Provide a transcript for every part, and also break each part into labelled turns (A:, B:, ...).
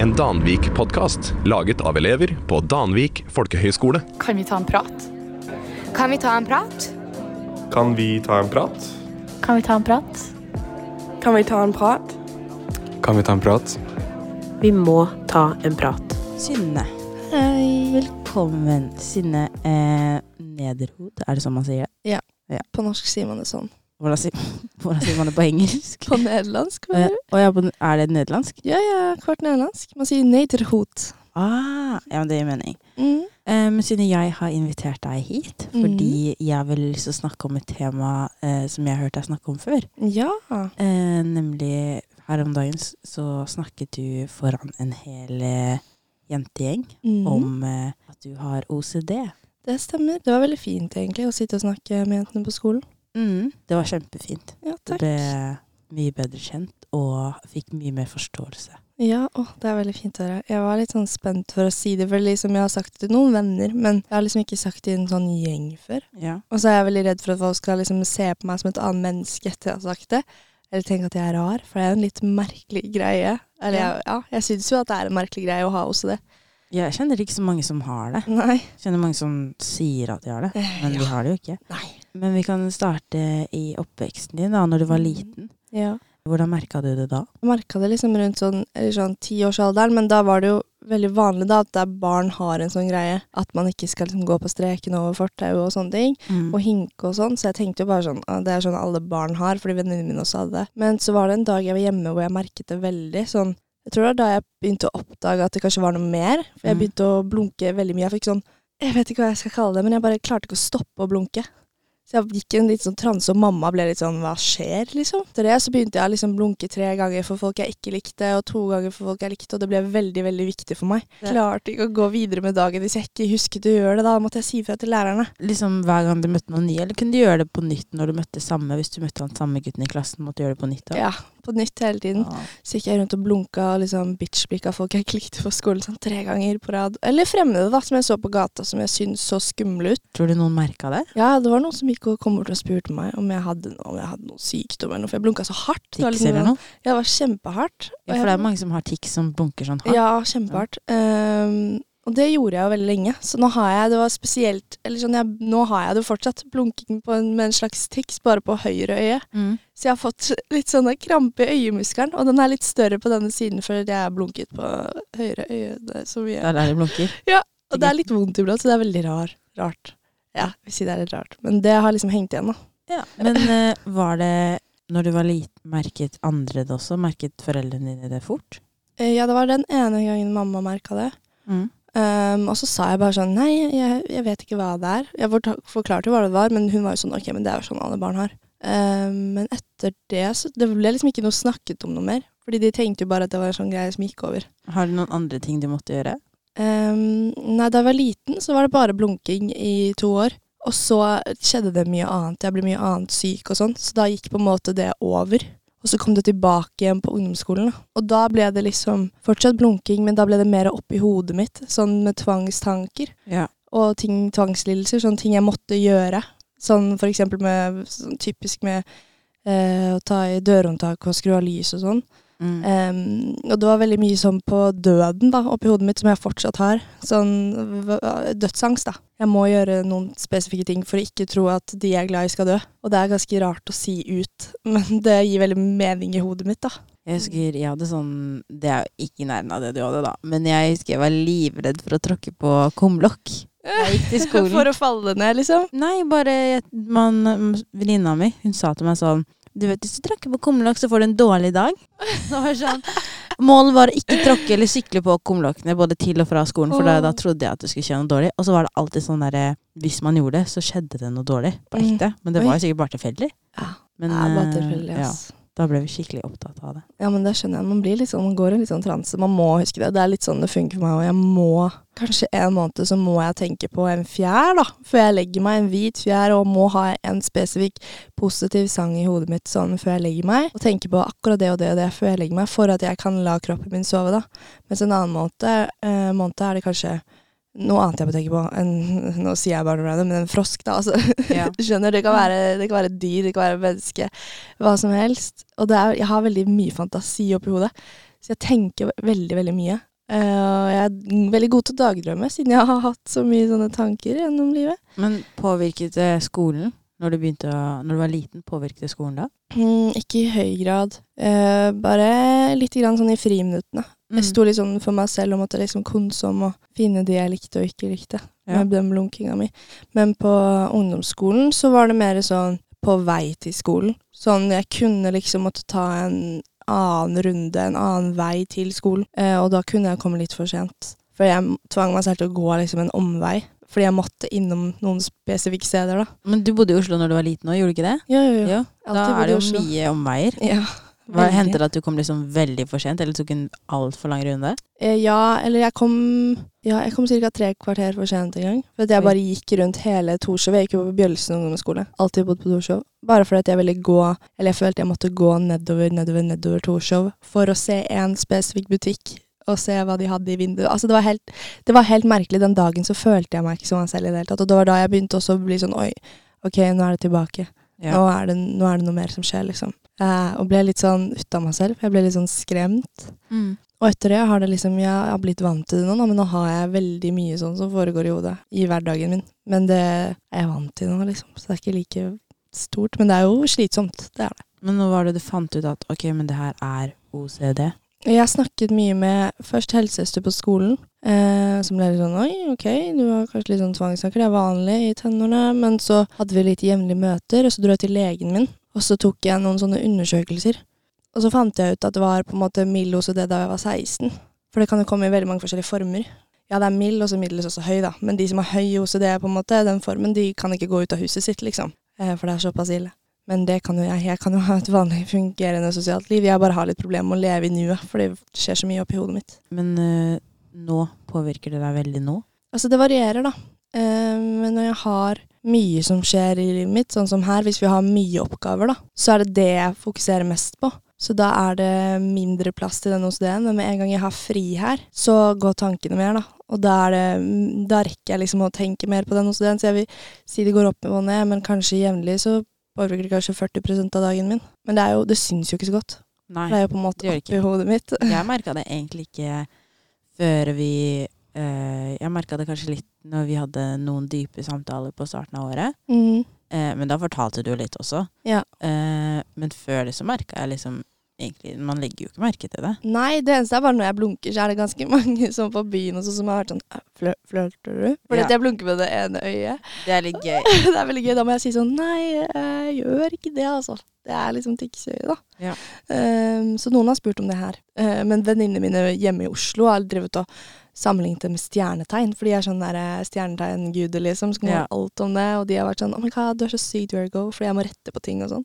A: en Danvik-podkast laget av elever på Danvik folkehøgskole.
B: Kan vi ta en prat?
C: Kan vi ta en prat?
D: Kan vi ta en prat?
E: Kan vi ta en prat?
F: Kan vi ta en prat?
G: Kan vi ta en prat?
H: Vi må ta en prat.
I: Synne. Hei. Velkommen. Synne eh, Nederhod, er det sånn man sier det?
F: Ja.
I: Ja.
F: På norsk sier man det sånn.
I: Hvordan sier, hvordan sier man det på engelsk?
F: På nederlandsk,
I: Eh,
F: mener du?
I: å ja, på- er det nederlandsk?
F: Eh, Ja, ja, kvart nederlandsk. Man sier nederhot.
I: Ah, ja, men det gir mening.
F: Mm.
I: Eh, men Synne, jeg har invitert deg hit fordi jeg har veldig lyst til å snakke om et tema eh, som jeg har hørt deg snakke om før.
F: Ja.
I: Eh, nemlig her om dagen s- så snakket du foran en hel eh, jentegjeng
F: Mm.
I: om eh, at du har OCD.
F: Det stemmer. Det var veldig fint, egentlig, å sitte og snakke med jentene på skolen. Mm.
I: Det var kjempefint.
F: Ja,
I: Du
F: takk.
I: ble mye bedre kjent og fikk mye mer forståelse.
F: Ja, å, det er veldig fint å høre. Jeg var litt sånn spent for å si det, for liksom jeg har sagt det til noen venner, men jeg har liksom ikke sagt det i en sånn gjeng før.
I: Ja.
F: Og så er jeg veldig redd for at folk skal liksom se på meg som et annet menneske etter jeg har sagt det. Eller tenke at jeg er rar, for det er jo en litt merkelig greie. Eller ja, ja jeg syns jo at det er en merkelig greie å ha også det.
I: Jeg kjenner ikke så mange som har det.
F: Nei.
I: Jeg kjenner mange som sier at de har det, men de har det jo ikke.
F: Nei.
I: Men vi kan starte i oppveksten din, da, når du var
F: Mm.
I: liten.
F: Ja.
I: Hvordan merka du det da?
F: Jeg merka det liksom rundt sånn, eller sånn tiårsalderen, men da var det jo veldig vanlig da at der barn har en sånn greie. At man ikke skal liksom gå på streken over fortauet og sånne ting.
I: Mm.
F: Og hinke og sånn. Så jeg tenkte jo bare sånn «Ah, Det er sånn alle barn har, fordi venninnene mine også hadde det. Men så var det en dag jeg var hjemme hvor jeg merket det veldig. sånn, Jeg tror det var da jeg begynte å oppdage at det kanskje var noe mer. For jeg
I: Mm.
F: begynte å blunke veldig mye. Jeg fikk sånn Jeg vet ikke hva jeg skal kalle det, men jeg bare klarte ikke å stoppe å blunke. Så jeg gikk i en litt sånn transe, og mamma ble litt sånn 'hva skjer', liksom. Etter det så begynte jeg å liksom blunke tre ganger for folk jeg ikke likte, og to ganger for folk jeg likte, og det ble veldig, veldig viktig for meg. Klarte ikke å gå videre med dagen hvis jeg ikke husket å gjøre det, da måtte jeg si ifra til lærerne.
I: Liksom Hver gang du møtte noen nye, eller kunne du gjøre det på nytt når du møtte samme? Hvis du møtte han samme gutten i klassen, måtte du gjøre det på nytt da?
F: Ja, på nytt hele tiden.
I: Ah.
F: Så gikk jeg rundt og blunka og liksom bitchblikka folk jeg ikke likte på skolen sånn tre ganger på rad. Eller fremmede, da, som jeg så på gata som jeg syntes så skumle ut.
I: Tror du noen merka det?
F: Ja, det var noen som gikk og kom bort og spurte meg om jeg hadde, noe- om jeg hadde noen sykdom eller noe, for jeg blunka så hardt. Det var
I: Tics
F: liksom-
I: eller noe?
F: Ja, det var kjempehardt.
I: sånn- Ja, for det er mange som har tics som blunker sånn hardt.
F: Ja, kjempehardt. Ehm, og det gjorde jeg jo veldig lenge, så nå har jeg det var spesielt Eller sånn, jeg, nå har jeg det fortsatt. Blunking på en, med en slags tics bare på høyre øye.
I: Mm.
F: Så jeg har fått litt sånne krampe i øyemuskelen, og den er litt større på denne siden fordi jeg er blunket på høyre øye det er så
I: Det
F: mye.
I: er der de blunker.
F: Og det er litt vondt iblant, så det er veldig rar, rart. Ja, jeg vil si det er litt rart, men det har liksom hengt igjen, da.
I: Men eh, var det når du var liten, merket andre det også? Merket foreldrene dine det fort?
F: Eh, Ja, det var den ene gangen mamma merka det.
I: Mm.
F: Ehm, og så sa jeg bare sånn Nei, jeg, jeg vet ikke hva det er. Jeg forta- forklarte jo hva det var, men hun var jo sånn Ok, men det er jo sånn alle barn har. Ehm, men etter det så Det ble liksom ikke noe snakket om noe mer. Fordi de tenkte jo bare at det var en sånn greie som gikk over.
I: Har du noen andre ting du måtte gjøre?
F: Ehm, nei, da jeg var liten, så var det bare blunking i to år. Og så skjedde det mye annet. Jeg ble mye annet syk og sånn. Så da gikk på en måte det over. Og så kom det tilbake igjen på ungdomsskolen. da. Og da ble det liksom fortsatt blunking, men da ble det mer oppi hodet mitt. Sånn med tvangstanker
I: Ja.
F: og ting, tvangslidelser, sånne ting jeg måtte gjøre. Sånn for eksempel med, sånn typisk med eh, å ta i dørhåndtak og skru av lys og sånn.
I: Mm.
F: Em, og det var veldig mye sånn på døden da, oppi hodet mitt som jeg fortsatt har. Sånn v- v- dødsangst, da. Jeg må gjøre noen spesifikke ting for å ikke tro at de jeg er glad i, skal dø. Og det er ganske rart å si ut, men det gir veldig mening i hodet mitt, da.
I: Jeg husker jeg hadde sånn Det er jo ikke i nærheten av det du hadde, da. Men jeg husker jeg var livredd for å tråkke på kumlokk. Jeg gikk til skolen.
F: For å falle ned, liksom.
I: Nei, bare jeg- man, mm, Venninna mi hun sa til meg sånn Du vet, hvis du tråkker på kumlokk, så får du en dårlig dag. Så var det sånn Målet var å ikke tråkke eller sykle på kumlokkene både til og fra skolen, for da, da trodde jeg at det skulle skje noe dårlig. Og så var det alltid sånn derre Hvis man gjorde det, så skjedde det noe dårlig. På
F: Mm.
I: ekte. Men det
F: Oi.
I: var jo sikkert bare tilfeldig.
F: Ja,
I: Men,
F: det er bare
I: eh,
F: tilfeldig,
I: ja,
F: ass.
I: da ble vi skikkelig opptatt av det.
F: Ja, men det skjønner jeg. Man, blir litt sånn, man går i en litt sånn transe. Man må huske det. Det er litt sånn det funker for meg. Og jeg må Kanskje en måned så må jeg tenke på en fjær, da. Før jeg legger meg. En hvit fjær. Og må ha en spesifikk positiv sang i hodet mitt sånn før jeg legger meg. Og tenke på akkurat det og det og det før jeg legger meg. For at jeg kan la kroppen min sove, da. Mens en annen måned, eh, måned er det kanskje noe annet jeg må tenke på enn Nå sier jeg bare noe random, men en frosk, da. Altså.
I: Ja.
F: Skjønner, det kan, være, det kan være dyr, det kan være menneske, hva som helst. Og det er, jeg har veldig mye fantasi oppi hodet, så jeg tenker veldig, veldig mye. Eh, Og jeg er veldig god til å dagdrømme, siden jeg har hatt så mye sånne tanker gjennom livet.
I: Men påvirket det skolen når du, begynte å, når du var liten? Påvirket det skolen da?
F: Mm, ikke i høy grad. Eh, bare litt grann sånn i friminuttene.
I: Mm.
F: Jeg sto litt sånn for meg selv og måtte liksom konse om å finne de jeg likte og ikke likte.
I: Ja.
F: Med den blunkinga mi. Men på ungdomsskolen så var det mer sånn på vei til skolen. Sånn jeg kunne liksom måtte ta en annen runde, en annen vei til skolen. Eh, og da kunne jeg komme litt for sent. For jeg m- tvang meg selv til å gå liksom en omvei. Fordi jeg måtte innom noen spesifikke steder, da.
I: Men du bodde i Oslo når du var liten òg, gjorde du ikke det?
F: Jo, jo, jo.
I: Ja. Da
F: Alltid bodd
I: er
F: i
I: det
F: Oslo.
I: jo mye omveier.
F: Ja.
I: Hva
F: veldig.
I: Hendte det at du kom liksom veldig for sent, eller tok en altfor lang runde?
F: Eh, Ja, eller jeg kom Ja, jeg kom ca. tre kvarter for sent en gang. For at jeg
I: Oi.
F: bare gikk rundt hele Torshov. Jeg gikk jo på Bjølsen ungdomsskole. Alltid bodd på Torshov. Bare fordi at jeg ville gå Eller jeg følte jeg måtte gå nedover, nedover, nedover Torshov for å se en spesifikk butikk. Og se hva de hadde i vinduet. Altså, det var, helt, det var helt merkelig. Den dagen så følte jeg meg ikke som meg selv i det hele tatt. Og det var da jeg begynte også å bli sånn Oi, ok, nå er det tilbake.
I: Ja.
F: Nå, er det, nå er det noe mer som skjer, liksom. Eh, og ble litt sånn ut av meg selv. Jeg ble litt sånn skremt. Og etter det har det liksom, jeg har blitt vant til det nå, da, men nå har jeg veldig mye sånn som foregår i hodet i hverdagen min. Men det er jeg vant til nå, liksom. Så det er ikke like stort. Men det er jo slitsomt. Det er det.
I: Men nå var det du fant ut at ok, men det her er OCD.
F: Jeg snakket mye med først helsesøster på skolen, eh, som ble litt sånn Oi, ok, du har kanskje litt sånn tvangstanker. Det er vanlig i tenårene. Men så hadde vi litt jevnlige møter, og så dro jeg til legen min. Og så tok jeg noen sånne undersøkelser. Og så fant jeg ut at det var på en måte mild OCD da jeg var 16. For det kan jo komme i veldig mange forskjellige former. Ja, det er mild, og så middels også høy, da. Men de som har høy OCD, på en måte, den formen, de kan ikke gå ut av huset sitt, liksom. Eh, For det er såpass ille. Men det kan jo jeg. Jeg kan jo ha et vanlig fungerende sosialt liv. Jeg bare har litt problemer med å leve i nuet, for det skjer så mye oppi hodet mitt.
I: Men eh, nå påvirker det deg veldig nå?
F: Altså, det varierer, da. Eh, Men når jeg har mye som skjer i livet mitt, sånn som her, hvis vi har mye oppgaver, da, så er det det jeg fokuserer mest på. Så da er det mindre plass til den OCD-en. Men med en gang jeg har fri her, så går tankene mer, da. Og da, er det, da rekker jeg liksom å tenke mer på den OCD-en. Så jeg vil si det går opp og ned, men kanskje jevnlig så påvirker det kanskje 40 av dagen min. Men det, er jo, det syns jo ikke så godt.
I: Nei.
F: Det er jo på en
I: det
F: måte
I: gjør det
F: oppi hodet mitt.
I: Jeg merka det egentlig ikke før vi eh, Jeg merka det kanskje litt når vi hadde noen dype samtaler på starten av året.
F: Mm.
I: Eh, men da fortalte du litt også.
F: Ja.
I: Eh, men før det så merka jeg liksom egentlig, Man legger jo ikke merke til det.
F: Nei, det eneste er bare når jeg blunker, så er det ganske mange som på byen og sånn som har vært sånn «Æ, flø- Flørter du? Fordi
I: Ja.
F: at jeg blunker med det ene øyet.
I: Det er litt gøy.
F: Det er veldig gøy. Da må jeg si sånn Nei, jeg gjør ikke det, altså. Det er liksom tikksøye, da.
I: Ja.
F: Ehm, så noen har spurt om det her. Ehm, men venninnene mine hjemme i Oslo har drevet og sammenlignet det med stjernetegn. For de er sånn der stjernetegnguder, liksom. Som kan
I: Ja.
F: alt om det. Og de har vært sånn Oh my god, du er så syk, Virgo. Fordi jeg må rette på ting og sånn.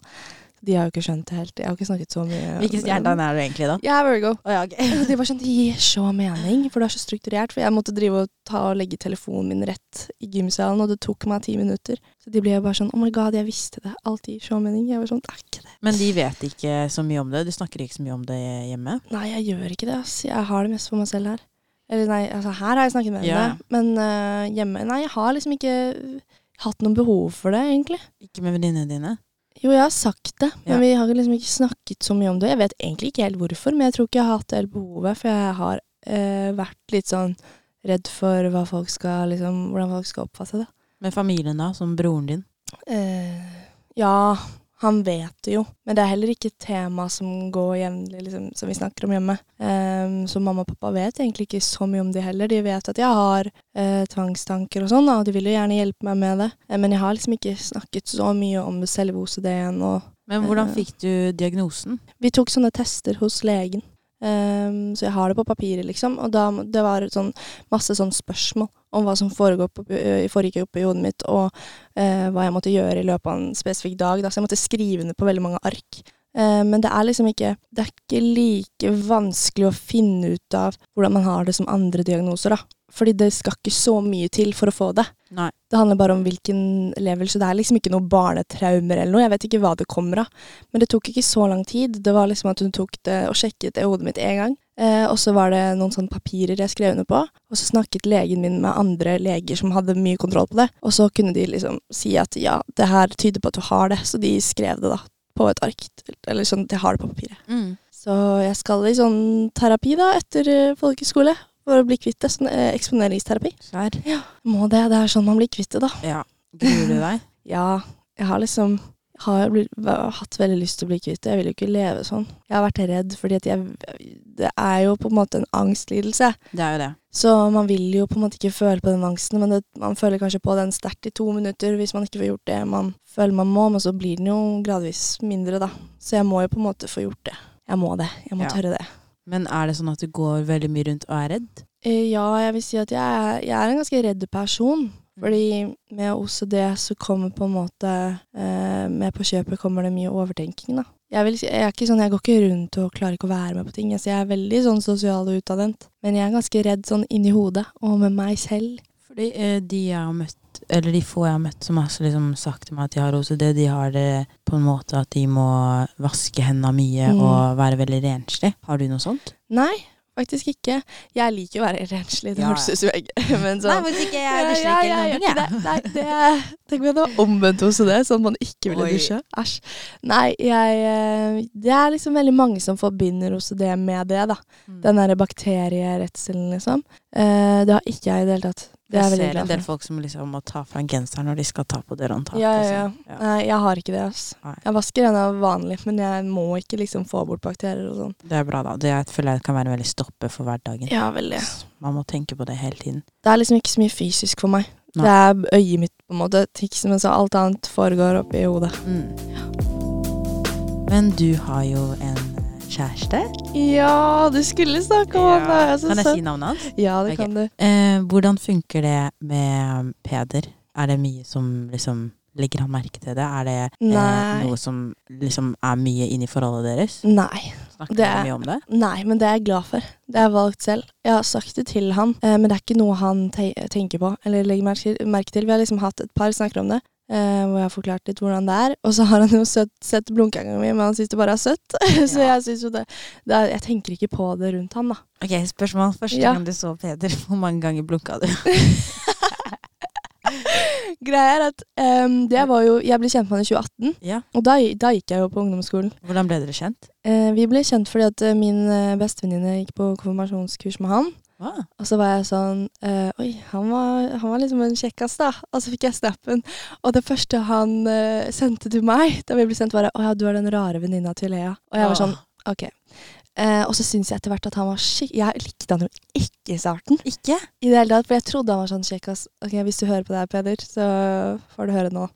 F: De har jo ikke skjønt det helt. Jeg har ikke snakket så mye
I: Hvilken stjernetegn er du egentlig, da?
F: Jeg er Virgo.
I: Å ja, ok.
F: Og det var sånn, det gir så mening, for det er så strukturert. For jeg måtte drive og ta og legge telefonen min rett i gymsalen, og det tok meg ti minutter. Så de ble jo bare sånn, oh my god, jeg visste det. Alt gir så mening. Jeg var sånn, det er ikke det.
I: Men de vet ikke så mye om det? Du snakker ikke så mye om det hjemme?
F: Nei, jeg gjør ikke det, ass. Jeg har det mest for meg selv her. Eller nei, altså her har jeg snakket med
I: Ja.
F: henne, men øh, hjemme, nei, jeg har liksom ikke hatt noen behov for det, egentlig.
I: Ikke med venninnene dine?
F: Jo, jeg har sagt det, men
I: Ja.
F: vi har liksom ikke snakket så mye om det. Jeg vet egentlig ikke helt hvorfor, men jeg tror ikke jeg har hatt det helt behovet, for jeg har eh, vært litt sånn redd for hva folk skal, liksom, hvordan folk skal oppfatte det.
I: Med familien, da? Som broren din?
F: Eh, ja, han vet det jo, men det er heller ikke et tema som går jevnlig, liksom, som vi snakker om hjemme. Eh, så mamma og pappa vet egentlig ikke så mye om det heller. De vet at jeg har eh, tvangstanker og sånn, da, og de vil jo gjerne hjelpe meg med det. Eh, men jeg har liksom ikke snakket så mye om selve OCD-en og
I: Men hvordan fikk du diagnosen?
F: Vi tok sånne tester hos legen. Ehm, så jeg har det på papiret, liksom. Og da, må- det var sånn, masse sånn spørsmål om hva som foregår på, ø, foregikk oppe i hodet mitt, og eh, hva jeg måtte gjøre i løpet av en spesifikk dag. Da. Så jeg måtte skrive ned på veldig mange ark. Eh, men det er liksom ikke Det er ikke like vanskelig å finne ut av hvordan man har det som andre diagnoser, da. Fordi det skal ikke så mye til for å få det.
I: Nei.
F: Det handler bare om hvilken levelse. Det er liksom ikke noe barnetraumer eller noe. Jeg vet ikke hva det kommer av. Men det tok ikke så lang tid. Det var liksom at hun tok det og sjekket det i hodet mitt én gang. Eh, og så var det noen sånne papirer jeg skrev under på. Og så snakket legen min med andre leger som hadde mye kontroll på det. Og så kunne de liksom si at ja,
I: Mm.
F: det her tyder på at du har det. Så de skrev det da på et ark. Eller sånn, de har det på papiret. Så jeg skal i sånn terapi da, etter eh, folkeskole. For å bli kvitt det. Sånn eh, eksponeringsterapi.
I: Skjær.
F: Må det. Det er sånn man blir kvitt det, da.
I: Ja. Gruer du deg?
F: Ja, jeg har liksom har blitt, væ- hatt veldig lyst til å bli kvitt det. Jeg vil jo ikke leve sånn. Jeg har vært redd, fordi at jeg, det er jo på en måte en angstlidelse.
I: Det er jo det.
F: Så man vil jo på en måte ikke føle på den angsten, men det, man føler kanskje på den sterkt i to minutter hvis man ikke får gjort det man føler man må, men så blir den jo gradvis mindre, da. Så jeg må jo på en måte få gjort det. Jeg må det. Jeg må
I: Ja.
F: tørre det.
I: Men er det sånn at du går veldig mye rundt og er redd?
F: Eh, Ja, jeg vil si at jeg er, jeg er en ganske redd person. Fordi med OCD så kommer på en måte eh, Med på kjøpet kommer det mye overtenking, da. Jeg, vil, si- jeg er ikke sånn, jeg går ikke rundt og klarer ikke å være med på ting. Altså, jeg er veldig sånn sosial og utadvendt. Men jeg er ganske redd sånn inni hodet og med meg selv.
I: Fordi eh, de jeg har møtt, eller de få jeg har møtt som har så liksom sagt til meg at de har OCD, de har det på en måte at de må vaske hendene mye
F: Mm.
I: og være veldig renslig. Har du noe sånt?
F: Nei, faktisk ikke. Jeg liker å være renslig, det
I: Ja, ja.
F: høres ut som jeg ikke men sånn-
I: faktisk ikke.
F: Ja, ja, jeg gjør ikke det. Nei, det er, tenk om det var omvendt hos det, sånn at man ikke ville
I: Oi.
F: dusje. Æsj. Nei, jeg eh, Det er liksom veldig mange som forbinder OCD med det, da.
I: Mm.
F: Den derre bakterieredselen, liksom. Eh, Det har ikke jeg i det hele tatt. Det er jeg
I: jeg
F: veldig
I: ser en
F: glad
I: del
F: for.
I: folk som liksom må ta fra en genser når de skal ta på dørhåndtaket.
F: Ja,
I: og
F: ja,
I: sånn. ja.
F: Nei, jeg har ikke det, ass.
I: Nei.
F: Jeg vasker henne vanlig, men jeg må ikke liksom få bort bakterier og sånn.
I: Det er bra, da. Det jeg føler jeg kan være en veldig stoppe for hverdagen.
F: Ja, veldig.
I: Man må tenke på det hele tiden.
F: Det er liksom ikke så mye fysisk for meg.
I: Nei.
F: Det er øyet mitt, på en måte. Tiksen, mens alt annet foregår oppi hodet.
I: Mm. Men du har jo en eh, kjæreste.
F: Ja, du skulle snakke om han da. Jeg synes
I: Kan jeg
F: det-
I: si navnet hans?
F: Ja, det
I: Ok.
F: kan du.
I: Eh, hvordan funker det med Peder? Er det mye som liksom Legger han merke til det? Er det eh,
F: Nei.
I: noe som liksom er mye inni forholdet deres?
F: Nei.
I: Snakker
F: det
I: dere
F: er-
I: mye om Mm, det?
F: Nei, men det er jeg glad for. Det har jeg valgt selv. Jeg har sagt det til han, eh, men det er ikke noe han te tenker på eller legger merke, merke til. Vi har liksom hatt et par snakker om det, eh, hvor jeg har forklart litt hvordan det er. Og så har han jo søtt, sett blunkegangen min, men han syns det bare er søtt. så
I: Ja.
F: jeg synes jo det, det er, Jeg tenker ikke på det rundt han, da.
I: Ok, spørsmål. Første
F: Ja.
I: gang du så Peder, hvor mange ganger blunka du?
F: Greia er at eh, det var jo Jeg ble kjent med han i 2018,
I: Ja.
F: og da, da gikk jeg jo på ungdomsskolen.
I: Hvordan ble dere kjent?
F: Eh, vi ble kjent fordi at eh, min eh, bestevenninne gikk på konfirmasjonskurs med han.
I: Ah,
F: Og så var jeg sånn eh, Oi, han var, han var liksom en kjekkas, da. Og så fikk jeg snappen. Og det første han eh, sendte til meg, da vi ble sendt, var Å ja, du er den rare venninna til Lea. Og jeg var sånn OK. Eh, og så syns jeg etter hvert at han var skikk... Jeg likte han jo ikke i starten.
I: Ikke?
F: I det hele tatt, For jeg trodde han var sånn kjekkas. Ok, hvis du hører på det her, Peder, så får du høre nå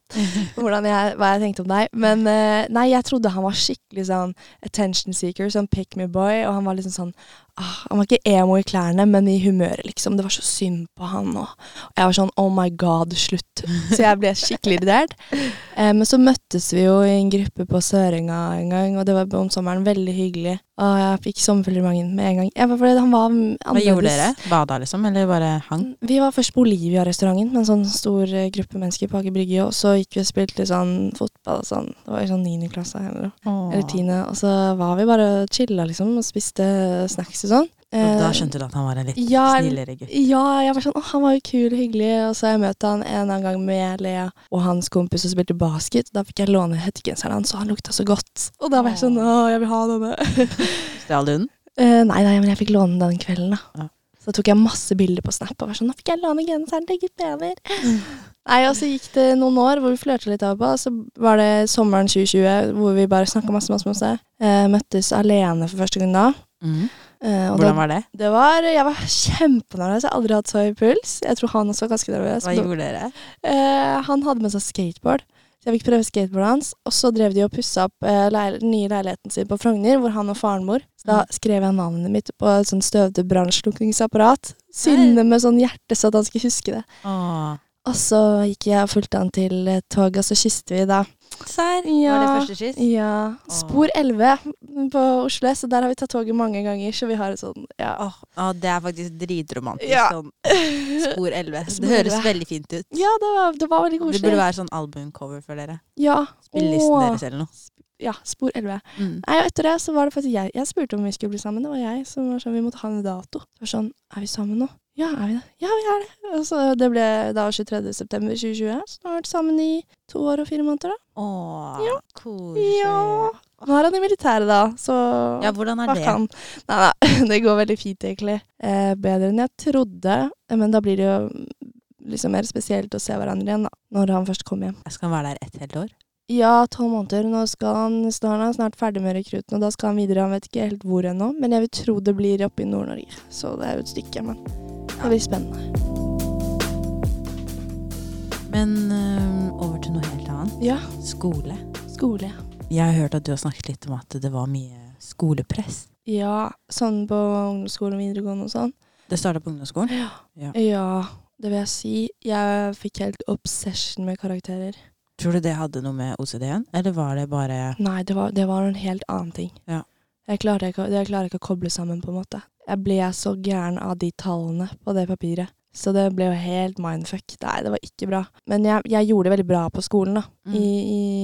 F: hvordan jeg, hva jeg tenkte om deg. Men eh, nei, jeg trodde han var skikkelig sånn attention seeker, sånn pick me boy. Og han var liksom sånn ah, Han var ikke emo i klærne, men i humøret, liksom. Det var så synd på han. Og, og jeg var sånn oh my god, slutt. Så jeg ble skikkelig irritert. Eh, men så møttes vi jo i en gruppe på Sørenga en gang, og det var om sommeren veldig hyggelig. Og jeg fikk sommerfugler i magen med en gang. Jeg var, fordi han var
I: Hva gjorde
F: annerledes.
I: dere? Bada, liksom? Eller bare hang?
F: Vi var først på Olivia-restauranten med en sånn stor eh, gruppe mennesker på Aker Brygge. Og så gikk vi og spilte sånn fotball og sånn. Det var i sånn niende klasse eller, noe, eller tiende. Og så var vi bare og chilla, liksom, og spiste snacks og sånn.
I: Og da
F: Eh,
I: skjønte du at han var en litt
F: ja,
I: snillere gutt?
F: ja, jeg var sånn, å, han var jo kul og hyggelig. Og så har jeg møtt han en annen gang med Lea og hans kompis og spilte basket. Da fikk jeg låne hettegenseren hans, og han lukta så godt. Og da var jeg sånn, å, jeg vil ha denne.
I: Stjal du den?
F: Eh, nei, nei, men jeg fikk låne den kvelden, da.
I: Ja.
F: Så tok jeg masse bilder på Snap og var sånn Nå fikk jeg låne genseren til Gitt Peder. Nei, og så gikk det noen år hvor vi flørta litt av og på. og Så var det sommeren 2020 hvor vi bare snakka masse, masse, masse. Eh, møttes alene for første gang da.
I: Mhm.
F: Eh, og
I: Hvordan
F: da,
I: var det?
F: det var Jeg var kjempenervøs. Jeg har aldri hatt så høy puls. Jeg tror han også var ganske nervøs.
I: Hva
F: men-
I: gjorde dere?
F: Eh, han hadde med seg skateboard. Så jeg fikk prøve skateboardet hans. Og så drev de og pussa opp eh, leil den nye leiligheten sin på Frogner, hvor han og faren bor. Så da
I: Mm.
F: skrev jeg navnet mitt på et sånn støvete brannslukningsapparat. Synne med sånn hjerte, så at han skulle huske det.
I: Åh.
F: Og så gikk jeg og fulgte han til eh, toget, og så kysset vi da.
I: Serr?
F: Ja.
I: Var det første kyss?
F: Ja.
I: Åh.
F: Spor 11 på Oslo S, så der har vi tatt toget mange ganger, så vi har et sånn ja.
I: Åh, åh, det er faktisk dritromantisk.
F: Ja.
I: Sånn spor 11.
F: Spor
I: Det høres
F: 11.
I: veldig fint ut.
F: Ja, det var, det var veldig
I: Det
F: koselig.
I: burde være sånn albumcover for dere.
F: ja.
I: Spillelisten
F: Åh.
I: deres eller noe. Mm.
F: Ja, spor 11. Nei, og etter det så var det faktisk jeg Jeg spurte om vi skulle bli sammen. Det var jeg som var sånn Vi måtte ha en dato. Det var sånn Er vi sammen nå? Ja, er vi det? Ja, vi er det. Og så det ble da 23. september 2020. Så nå har vi vært sammen i to år og fire måneder, da.
I: Åh,
F: Ja.
I: koselig.
F: Ja. Nå er han i militæret, da, så
I: Ja, hvordan er
F: hva
I: det?
F: kan Nei da, det går veldig fint, egentlig. Eh, bedre enn jeg trodde, Eh, men da blir det jo liksom mer spesielt å se hverandre igjen, da, når han først kommer hjem.
I: Jeg skal være der et helt år.
F: Ja, tolv måneder. Nå, skal han, nå er han snart ferdig med rekrutten, og da skal han videre. Han vet ikke helt hvor ennå, men jeg vil tro det blir oppe i Nord-Norge. Så det er jo et stykke, men det blir spennende.
I: Men øhm, over til noe helt annet.
F: Ja,
I: Skole.
F: skole.
I: Jeg har hørt at du har snakket litt om at det var mye skolepress.
F: Ja, sånn på ungdomsskolen og videregående og sånn.
I: Det starta på ungdomsskolen.
F: Ja.
I: Ja.
F: det vil jeg si. Jeg fikk helt obsession med karakterer.
I: Tror du det hadde noe med OCD-en, eller var det bare
F: Nei, det var, det var en helt annen ting.
I: Ja.
F: Jeg, klarer ikke, å- jeg klarer ikke å koble sammen, på en måte. Jeg ble så gæren av de tallene på det papiret. Så det ble jo helt mindfuck. Nei, det var ikke bra. Men jeg, jeg gjorde det veldig bra på skolen, da.
I: Mm.
F: I,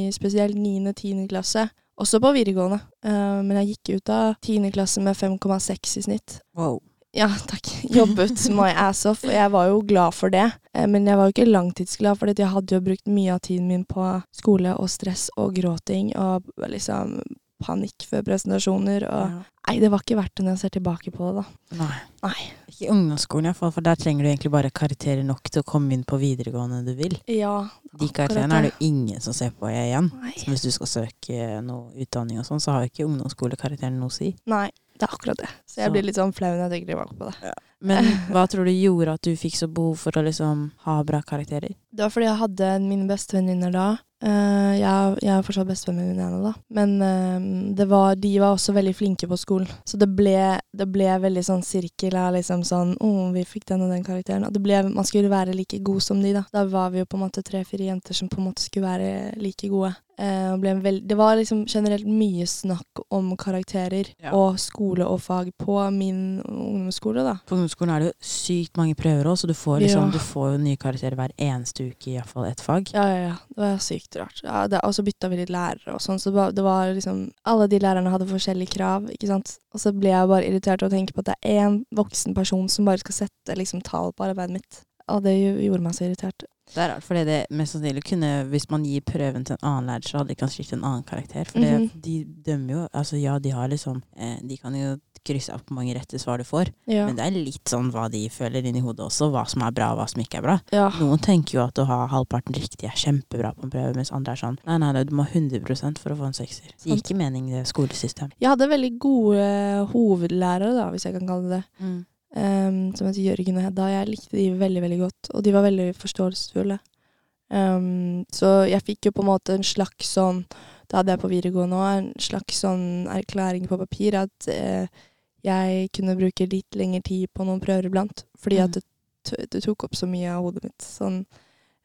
F: i spesielt 9. og 10. klasse. Også på videregående. Eh, men jeg gikk ut av 10. klasse med 5,6 i snitt.
I: wow?
F: Ja, takk. Jobbet my ass off, og jeg var jo glad for det. Eh, Men jeg var jo ikke langtidsglad, for jeg hadde jo brukt mye av tiden min på skole og stress og gråting og liksom panikk før presentasjoner. Og
I: Ja.
F: nei, det var ikke verdt det når jeg ser tilbake på det, da.
I: Nei.
F: Nei.
I: Ikke i ungdomsskolen iallfall, for der trenger du egentlig bare karakterer nok til å komme inn på videregående du vil.
F: Ja.
I: De karakterene er det jo ingen som ser på igjen.
F: Nei.
I: Så hvis du skal søke noe utdanning og sånn, så har jo ikke ungdomsskolekarakteren noe å si.
F: nei, det er akkurat det. Så
I: Så-
F: jeg blir litt sånn flau når jeg tenker tilbake på det.
I: Men hva tror du gjorde at du fikk så behov for å liksom ha bra karakterer?
F: Det var fordi jeg hadde mine bestevenninner da. Eh, jeg, jeg er fortsatt bestevenninne ennå, da. Men eh, det var, de var også veldig flinke på skolen. Så det ble, det ble veldig sånn sirkel av liksom sånn Å, vi fikk den og den karakteren. Og det ble, man skulle være like god som de, da. Da var vi jo på en måte tre-fire jenter som på en måte skulle være like gode. Eh, og ble en veld, det var liksom generelt mye snakk om karakterer
I: Ja.
F: og skole og fag på min ungdomsskole, da.
I: På ungdomsskolen er det jo sykt mange prøver òg, så du får, liksom,
F: Ja.
I: du får jo nye karakterer hver eneste uke i iallfall ett fag.
F: Ja, ja, ja. Det var sykt rart. Ja, det, og så bytta vi litt lærere og sånn, så det var, det var liksom Alle de lærerne hadde forskjellige krav, ikke sant. Og så ble jeg bare irritert av å tenke på at det er én voksen person som bare skal sette liksom tall på arbeidet mitt. Og det gj- gjorde meg så irritert.
I: Det er rart, fordi det mest sannsynlig kunne Hvis man gir prøven til en annen lærer, så hadde ikke han skiftet en annen karakter. For det,
F: Mhm.
I: de dømmer jo Altså ja, de har liksom eh, De kan jo krysse av på mange rette svar du får,
F: Ja.
I: men det er litt sånn hva de føler inni hodet også, hva som er bra, og hva som ikke er bra.
F: ja.
I: Noen tenker jo at å ha halvparten riktig er kjempebra på en prøve, mens andre er sånn nei, nei, nei, du må ha 100 for å få en sekser. Det gir ikke mening, det skolesystemet.
F: Jeg hadde veldig gode hovedlærere, da, hvis jeg kan kalle det det, em, Ehm, som heter Jørgen og Hedda. Jeg likte de veldig, veldig godt, og de var veldig forståelsesfulle. Em, så jeg fikk jo på en måte en slags sånn Det hadde jeg på videregående òg, en slags sånn erklæring på papir at eh, jeg kunne bruke litt lengre tid på noen prøver iblant, fordi
I: Mm.
F: at det, t det tok opp så mye av hodet mitt. Sånn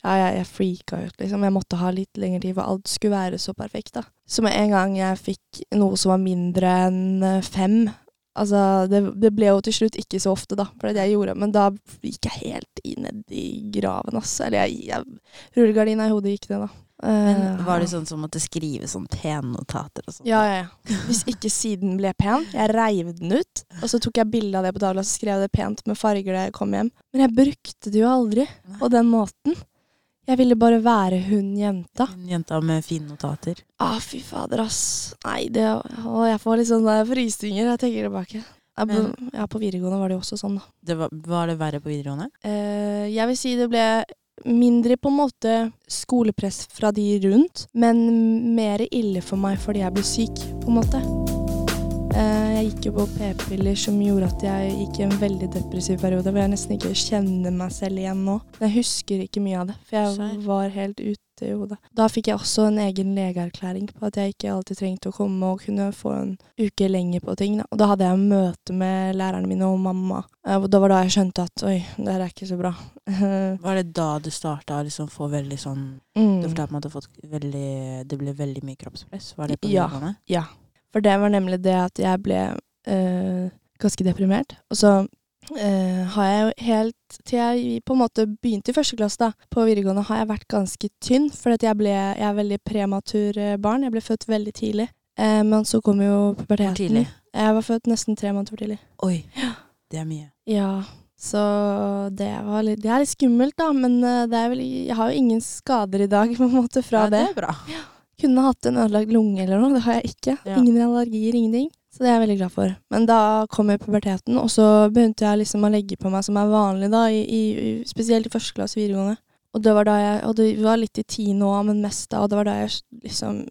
F: ja, jeg, jeg freaka ut, liksom. Jeg måtte ha litt lengre tid, for alt skulle være så perfekt, da. Så med en gang jeg fikk noe som var mindre enn eh, fem Altså, det, det ble jo til slutt ikke så ofte, da, for det er det jeg gjorde. Men da gikk jeg helt i ned i graven, ass. Eller jeg, jeg Rullegardina i hodet gikk det, da. Eh,
I: Men var det sånn som måtte skrive sånn pennotater og sånn?
F: ja, ja, ja. Hvis ikke siden ble pen. Jeg reiv den ut, og så tok jeg bilde av det på tavla og skrev jeg det pent med farger da jeg kom hjem. Men jeg brukte det jo aldri på den måten. Jeg ville bare være hun jenta.
I: En jenta med fine notater.
F: Å, fy fader, ass. Nei, det Å, jeg får litt sånn eh, frysninger når jeg tenker tilbake. Jeg,
I: Men-
F: ja, på videregående var det jo også sånn, da.
I: Det var, var det verre på videregående?
F: Eh, jeg vil si det ble mindre på en måte skolepress fra de rundt, men mer ille for meg fordi jeg ble syk, på en måte. Eh, jeg gikk jo på p-piller som gjorde at jeg gikk i en veldig depressiv periode, hvor jeg nesten ikke kjenner meg selv igjen nå. Men jeg husker ikke mye av det, for jeg
I: Skjønner.
F: var helt ute i hodet. Da fikk jeg også en egen legeerklæring på at jeg ikke alltid trengte å komme og kunne få en uke lenger på ting. Da. Og da hadde jeg møte med lærerne mine og mamma. Eh, og da var da jeg skjønte at oi, det her er ikke så bra.
I: Var det da du starta å liksom få veldig sånn Du
F: mm.
I: fortalte meg at du har fått veldig Det ble veldig mye kroppspress. Var det på
F: Ja.
I: videregående?
F: For det var nemlig det at jeg ble eh, ganske deprimert. Og så eh, har jeg jo helt til jeg på en måte begynte i første klasse da, på videregående, har jeg vært ganske tynn. For at jeg, ble, jeg er veldig prematur eh, barn. Jeg ble født veldig tidlig. Eh, men så kom jo puberteten.
I: Hvor tidlig?
F: Jeg var født nesten tre måneder for tidlig.
I: Oi, det er mye.
F: Ja, så det, var litt, det er litt skummelt, da. Men eh, det er vel, jeg har jo ingen skader i dag på en måte fra
I: Ja,
F: det.
I: er bra.
F: Kunne hatt en ødelagt lunge eller noe. Det har jeg ikke.
I: Ja.
F: Ingen allergier, ingenting. Så det er jeg veldig glad for. Men da kom jo puberteten, og så begynte jeg liksom å legge på meg som er vanlig, da, i, i, i, spesielt i første klasse videregående. Og det var da jeg, og det var litt i tiende òg, men mest da, og det var da jeg s- liksom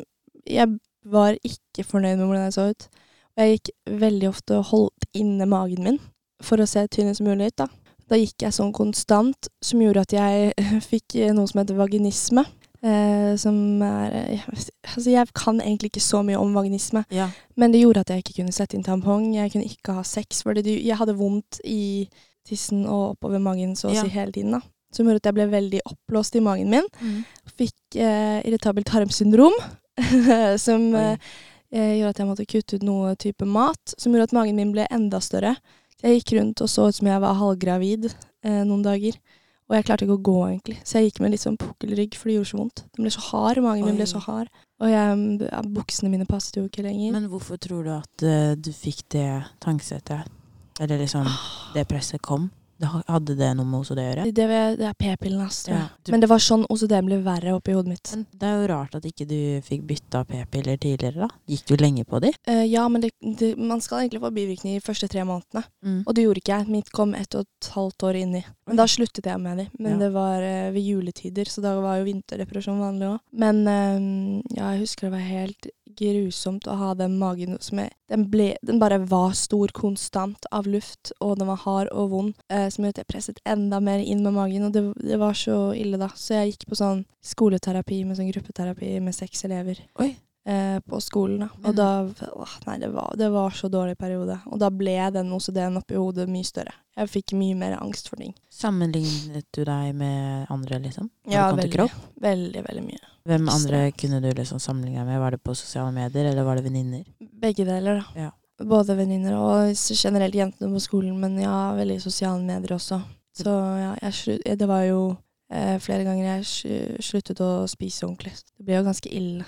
F: Jeg var ikke fornøyd med hvordan jeg så ut. Og jeg gikk veldig ofte og holdt inne magen min for å se tynnest mulig ut, da. Da gikk jeg sånn konstant, som gjorde at jeg fikk eh, noe som heter vaginisme. Eh, som er eh, jeg vet- Altså, jeg kan egentlig ikke så mye om vaginisme,
I: Ja.
F: men det gjorde at jeg ikke kunne sette inn tampong. Jeg kunne ikke ha sex, fordi det- jeg hadde vondt i tissen og oppover magen så å
I: Ja.
F: si hele tiden. da. Som gjorde at jeg ble veldig oppblåst i magen min. Fikk eh, irritabelt tarmsyndrom, som eh, eh, gjorde at jeg måtte kutte ut noe type mat, som gjorde at magen min ble enda større. Jeg gikk rundt og så ut som jeg var halvgravid eh, noen dager. Og jeg klarte ikke å gå, egentlig. Så jeg gikk med litt sånn pukkelrygg, for det gjorde så vondt. Den ble så hard, magen min
I: Oi.
F: ble så hard. Og jeg, ja, buksene mine passet jo ikke lenger.
I: Men hvorfor tror du at eh, du fikk det tankesettet? Eller liksom det presset kom? Det ha- Hadde det noe med OCD å gjøre?
F: Ah, det, det, det er p-pillen, ass. tror jeg.
I: Ja, du-
F: Men det var sånn OCD-en ble verre oppi hodet mitt.
I: Men det er jo rart at ikke du fikk bytta p-piller tidligere, da. Gikk du lenge på de?
F: Eh, ja, men det, det, man skal egentlig få bivirkninger de første tre månedene.
I: Mm.
F: Og det gjorde ikke jeg. Mitt kom ett og et halvt år inni. Men da sluttet jeg med de. Men
I: Ja.
F: det var eh, ved juletider, så da var jo vinterdepresjon vanlig òg. Men eh, ja, jeg husker det var helt grusomt å ha den magen som jeg den, ble, den bare var stor konstant av luft, og den var hard og vond. eh, som gjorde at jeg presset enda mer inn med magen, og det, det var så ille da. Så jeg gikk på sånn skoleterapi med sånn gruppeterapi med seks elever
I: Oi.
F: eh, på skolen. Da.
I: Men-
F: Og da åh, Nei, det var, det var så dårlig periode. Og da ble den OCD-en oppi hodet mye større. Jeg fikk mye mer angst for ting.
I: Sammenlignet du deg med andre, liksom? Når det kom til
F: veldig,
I: kropp?
F: veldig, veldig mye.
I: Hvem andre kunne du liksom sammenligne deg med? Var det på sosiale medier, eller var det venninner?
F: Begge deler, da.
I: Ja.
F: Både venninner og s- generelt jentene på skolen, men ja, veldig sosiale medier også. Så ja, jeg slu- det var jo eh, flere ganger jeg slu- sluttet å spise ordentlig. Det ble jo ganske ille,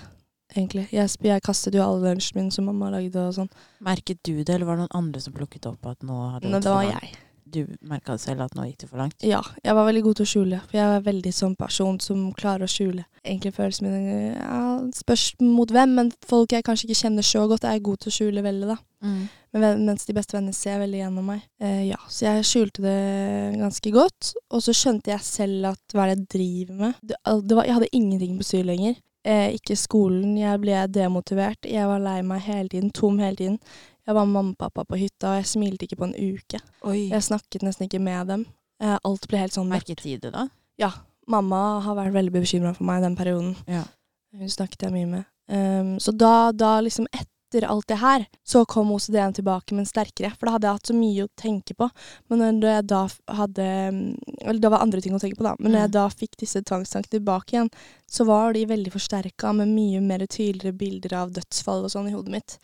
F: egentlig. Jeg, sp- jeg kastet jo all lunsjen min som mamma lagde og sånn.
I: Merket du det, eller var det noen andre som plukket opp at nå hadde
F: Men
I: gått for
F: det var
I: langt?
F: jeg.
I: Du merka selv at nå gikk det for langt?
F: Ja, jeg var veldig god til å skjule. For jeg er veldig sånn person som klarer å skjule egentlig følelsene mine. Ja, spørs mot hvem, men folk jeg kanskje ikke kjenner så godt, er jeg god til å skjule veldig, da. Men ven- mens de beste vennene ser veldig gjennom meg. Eh, ja, Så jeg skjulte det ganske godt. Og så skjønte jeg selv at hva er det jeg driver med? Det, al- det var, jeg hadde ingenting på styr lenger. Eh, ikke skolen. Jeg ble demotivert. Jeg var lei meg hele tiden. Tom hele tiden. Jeg var med mamma og pappa på hytta, og jeg smilte ikke på en uke.
I: Oi.
F: Jeg snakket nesten ikke med dem. Eh, alt ble helt sånn mørkt.
I: Merket de det, da?
F: Mamma har vært veldig bekymra for meg i den perioden.
I: Ja.
F: Hun snakket jeg mye med. Ehm, så da, da liksom etter alt det her, så kom OCD-en tilbake, men sterkere. For da hadde jeg hatt så mye å tenke på. Men når da jeg da f- hadde mm, Eller det var andre ting å tenke på, da. Men når
I: Mm.
F: jeg da fikk disse tvangstankene tilbake igjen, så var de veldig forsterka med mye mer tydeligere bilder av dødsfall og sånn i hodet mitt.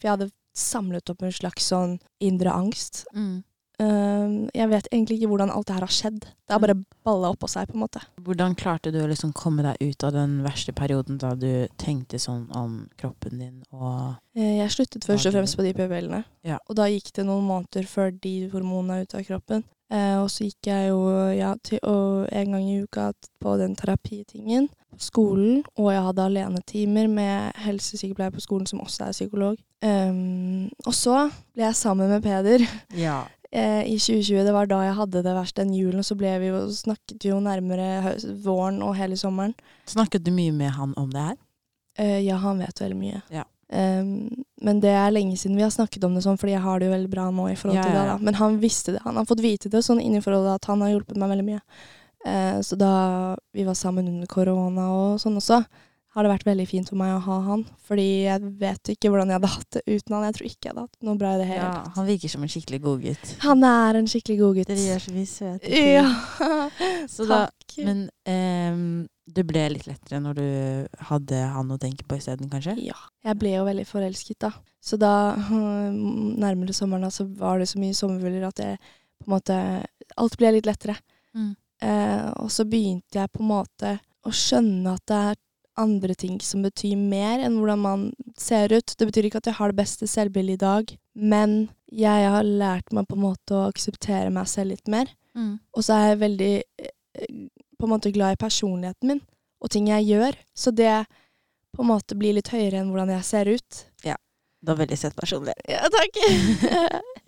F: For jeg hadde samlet opp en slags sånn indre angst.
I: Mm.
F: Ehm, jeg vet egentlig ikke hvordan alt det her har skjedd. Det har bare balla oppå seg, på en måte.
I: Hvordan klarte du å liksom komme deg ut av den verste perioden da du tenkte sånn om kroppen din og
F: Eh, Jeg sluttet først og
I: Daglig.
F: fremst på de p-pillene.
I: Ja.
F: Og da gikk det noen måneder før de hormonene er ute av kroppen. Eh, og så gikk jeg jo ja, til, og en gang i uka t- på den terapitingen på skolen. Og jeg hadde alenetimer med helsesykepleier på skolen som også er psykolog. Ehm, og så ble jeg sammen med Peder
I: Ja.
F: eh, i 2020. Det var da jeg hadde det verst den julen. Og så ble vi jo, snakket vi jo nærmere hø- våren og hele sommeren.
I: Snakket du mye med han om det her?
F: Eh, ja, han vet veldig mye.
I: Ja.
F: Ehm, men det er lenge siden vi har snakket om det sånn, fordi jeg har det jo veldig bra nå i forhold
I: Ja,
F: til
I: ja,
F: det.
I: ja.
F: da. Men han visste det. Han har fått vite det sånn inni forholdet at han har hjulpet meg veldig mye. Eh, så da vi var sammen under korona og sånn også, har det vært veldig fint for meg å ha han. Fordi jeg vet ikke hvordan jeg hadde hatt det uten han. Jeg tror ikke jeg hadde hatt det noe bra i det hele tatt.
I: Han virker som en skikkelig godgutt.
F: Han er en skikkelig god gutt.
I: Dere gjør så mye søte ting.
F: Ja.
I: Så da,
F: Takk.
I: men ehm, det ble litt lettere når du hadde han å tenke på isteden, kanskje?
F: Ja. Jeg ble jo veldig forelsket, da. Så da, øh, nærmere sommeren, da, så var det så mye sommerfugler at det på en måte Alt ble litt lettere.
I: Mm.
F: Eh, og så begynte jeg på en måte å skjønne at det er andre ting som betyr mer enn hvordan man ser ut. Det betyr ikke at jeg har det beste selvbildet i dag, men jeg har lært meg på en måte å akseptere meg selv litt mer. Og så er jeg veldig eh, på en måte glad i personligheten min og ting jeg gjør. Så det på en måte bli litt høyere enn hvordan jeg ser ut.
I: Det var veldig søt personlig.
F: Ja, takk.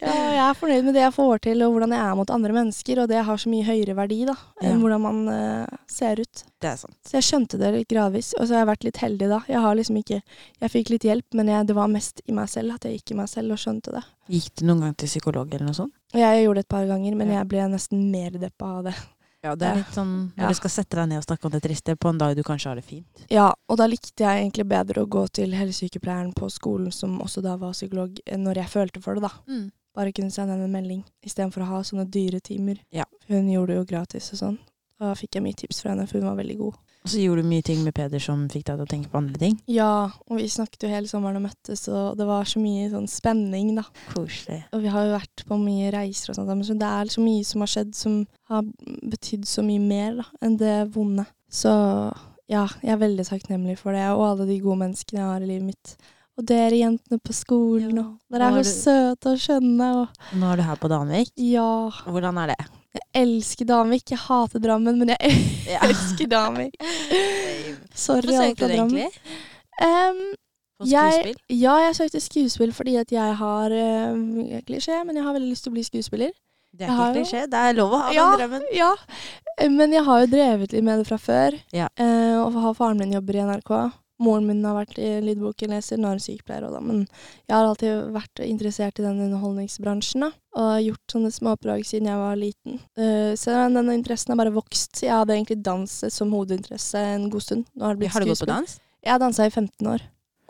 F: ja, jeg er fornøyd med det jeg får til, og hvordan jeg er mot andre mennesker. Og det har så mye høyere verdi da, enn
I: Ja.
F: hvordan man eh, ser ut.
I: Det er sant.
F: Så jeg skjønte det litt gradvis, og så har jeg vært litt heldig da. Jeg har liksom ikke, jeg fikk litt hjelp, men jeg, det var mest i meg selv at jeg gikk i meg selv og skjønte det.
I: Gikk du noen gang til psykolog eller noe sånt?
F: Og jeg gjorde det et par ganger, men
I: Ja.
F: jeg ble nesten mer deppa av det.
I: Ja,
F: det er
I: litt sånn når
F: Ja.
I: du skal sette deg ned og snakke om det triste på en dag du kanskje har det fint.
F: Ja, og da likte jeg egentlig bedre å gå til helsesykepleieren på skolen, som også da var psykolog, eh, når jeg følte for det da.
I: Mm.
F: Bare kunne sende henne en melding, istedenfor å ha sånne dyre timer.
I: Ja.
F: Hun gjorde det jo gratis og sånn. Da fikk jeg mye tips fra henne, for hun var veldig god.
I: Og så gjorde du mye ting med Peder som fikk deg til å tenke på andre ting.
F: Ja, og vi snakket jo hele sommeren og møttes, og det var så mye sånn spenning da.
I: Koselig.
F: Og vi har jo vært på mye reiser og sånt, men så det er så mye som har skjedd som har betydd så mye mer da, enn det vonde. Så ja, jeg er veldig takknemlig for det, og alle de gode menneskene jeg har i livet mitt. Og dere jentene på skolen,
I: Ja,
F: og dere
I: nå
F: er
I: er du-
F: så søte og skjønne, og
I: Nå er du her på Danvik.
F: ja.
I: Hvordan er det?
F: Jeg elsker Danvik, jeg hater Drammen, men jeg
I: Ja.
F: elsker Danvik. Sorry, alle fra Drammen. Em,
I: På
F: jeg,
I: skuespill?
F: ja, jeg søkte skuespill fordi at jeg har, eh, klisjé, men jeg har veldig lyst til å bli skuespiller.
I: Det
F: jeg
I: er
F: har
I: ikke
F: jo-
I: klisjé. Det er lov å ha
F: Ja.
I: den drømmen.
F: Ja, men jeg har jo drevet litt med det fra før.
I: Ja.
F: Eh, og har faren min jobber i NRK. Moren min har vært eh, lydbokenleser, nå er hun sykepleier òg, da. Men jeg har alltid vært interessert i den underholdningsbransjen, da. Og har gjort sånne småoppdrag siden jeg var liten. Eh, så den, den interessen har bare vokst. Jeg hadde egentlig dans som hovedinteresse en god stund. Nå har det blitt
I: Har du gått på
F: skuespill.
I: dans?
F: Jeg har dansa i 15 år.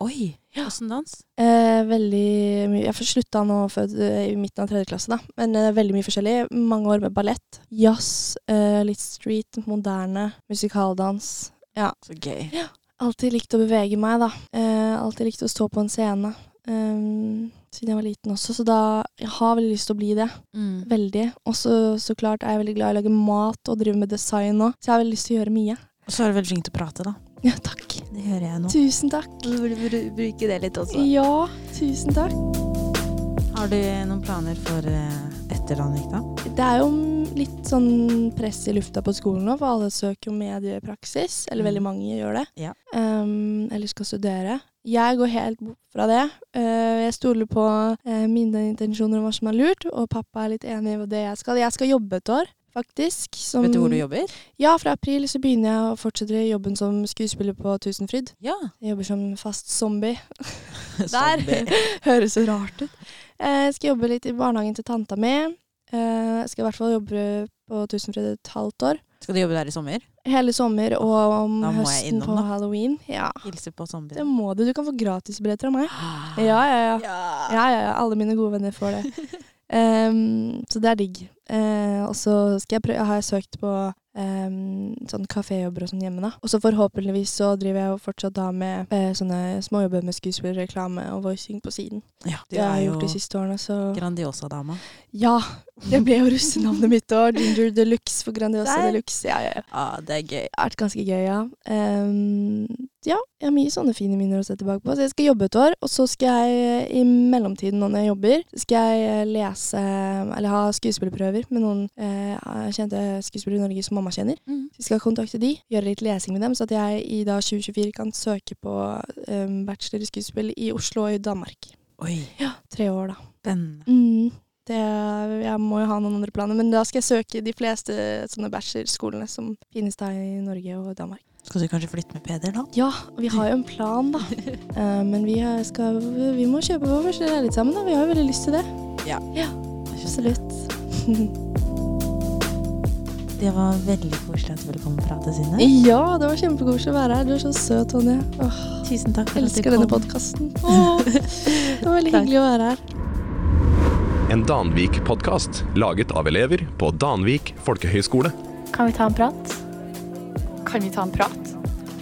I: Oi, åssen dans?
F: Eh, veldig mye Jeg slutta nå før, i midten av tredje klasse, da. Men eh, veldig mye forskjellig. Mange år med ballett, jazz, eh, litt street, moderne, musikaldans.
I: Så gøy.
F: Alltid likt å bevege meg, da. Eh, alltid likt å stå på en scene. eh, siden jeg var liten også, så da jeg har veldig lyst til å bli det.
I: Mm.
F: Veldig. Og så så klart er jeg veldig glad i å lage mat og drive med design òg, så jeg har veldig lyst til å gjøre mye.
I: Og så er du veldig flink til å prate, da.
F: Ja, takk.
I: Det hører jeg nå.
F: Tusen takk.
I: Du burde bruke det litt
F: Ja, tusen takk.
I: Har du noen planer for eh, etter Danvik, da?
F: Det er jo litt sånn press i lufta på skolen nå, for alle søker jo mediepraksis. Eller
I: Mm.
F: veldig mange gjør det.
I: Ja.
F: Um, eller skal studere. Jeg går helt bort fra det. Uh, jeg stoler på uh, mine intensjoner om hva som er lurt, og pappa er litt enig i det jeg skal. Jeg skal jobbe et år, faktisk. som-
I: Vet du hvor du jobber?
F: Ja, fra april så begynner jeg å fortsette jobben som skuespiller på Tusenfryd.
I: Ja.
F: Jeg jobber som fast zombie.
I: Sånn det-
F: Høres så rart ut. Eh, Jeg skal jobbe litt i barnehagen til tanta mi. Eh, Jeg skal i hvert fall jobbe på Tusenfryd et halvt år.
I: Skal du jobbe der i sommer?
F: Hele sommer og om
I: Da må jeg
F: høsten
I: innom,
F: på
I: da.
F: halloween. Ja,
I: Hilse på
F: det
I: zombier.
F: må du. Du kan få gratisbilletter av meg. Ja, ja, ja. Ja, ja, ja. Alle mine gode venner får det. Em, så det er digg. Eh, og så skal jeg prøve, har jeg søkt på em, sånn kaféjobber og sånn hjemme, da. Og så forhåpentligvis så driver jeg jo fortsatt da med eh, sånne småjobber med skuespill, reklame og voicing på siden.
I: Ja, du
F: Det har
I: er
F: jeg
I: jo
F: gjort de siste årene, så
I: Grandiosa-dama.
F: Ja! Det ble jo russenavnet mitt òg. Ginger Deluxe for Grandiosa
I: Der.
F: Deluxe. Ja, ja, ja.
I: Ja, det er gøy.
F: Det har vært ganske gøy, ja. Ehm, ja, jeg har mye sånne fine minner å se tilbake på. Så jeg skal jobbe et år, og så skal jeg eh, i mellomtiden nå når jeg jobber, så skal jeg eh, lese Eller ha skuespillerprøver med noen eh, kjente skuespillere i Norge som mamma kjenner.
I: Mm.
F: Så jeg skal kontakte de, gjøre litt lesing med dem, så at jeg i da 2024 kan søke på em, bachelor i skuespill i Oslo og i Danmark.
I: Oi,
F: Tre år, da.
I: spennende.
F: Mm. Det, jeg må jo ha noen andre planer, men da skal jeg søke de fleste sånne bachelorskolene som finnes da i Norge og Danmark.
I: Skal du kanskje flytte med Peder, da?
F: Ja, og vi har jo en plan, da. Eh, men vi, er- skal, vi må kjøpe vår første leilighet sammen, da. Vi har jo veldig lyst til det. Absolutt.
I: Det var veldig koselig at du ville komme og prate, Synne.
F: Ja, det var kjempekoselig å være her. Du er så søt, Tonje. Åh,
I: Tusen takk for
F: elsker
I: at du
F: denne
I: kom.
F: podkasten. Det var veldig
I: Takk.
F: hyggelig å være her.
A: En Danvik-podkast laget av elever på Danvik folkehøgskole.
C: Kan vi ta en prat? Kan vi ta en prat?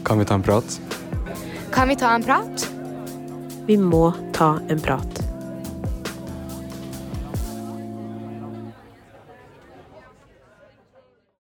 G: Kan vi ta en prat?
C: Kan vi ta en prat?
H: Vi må ta en prat.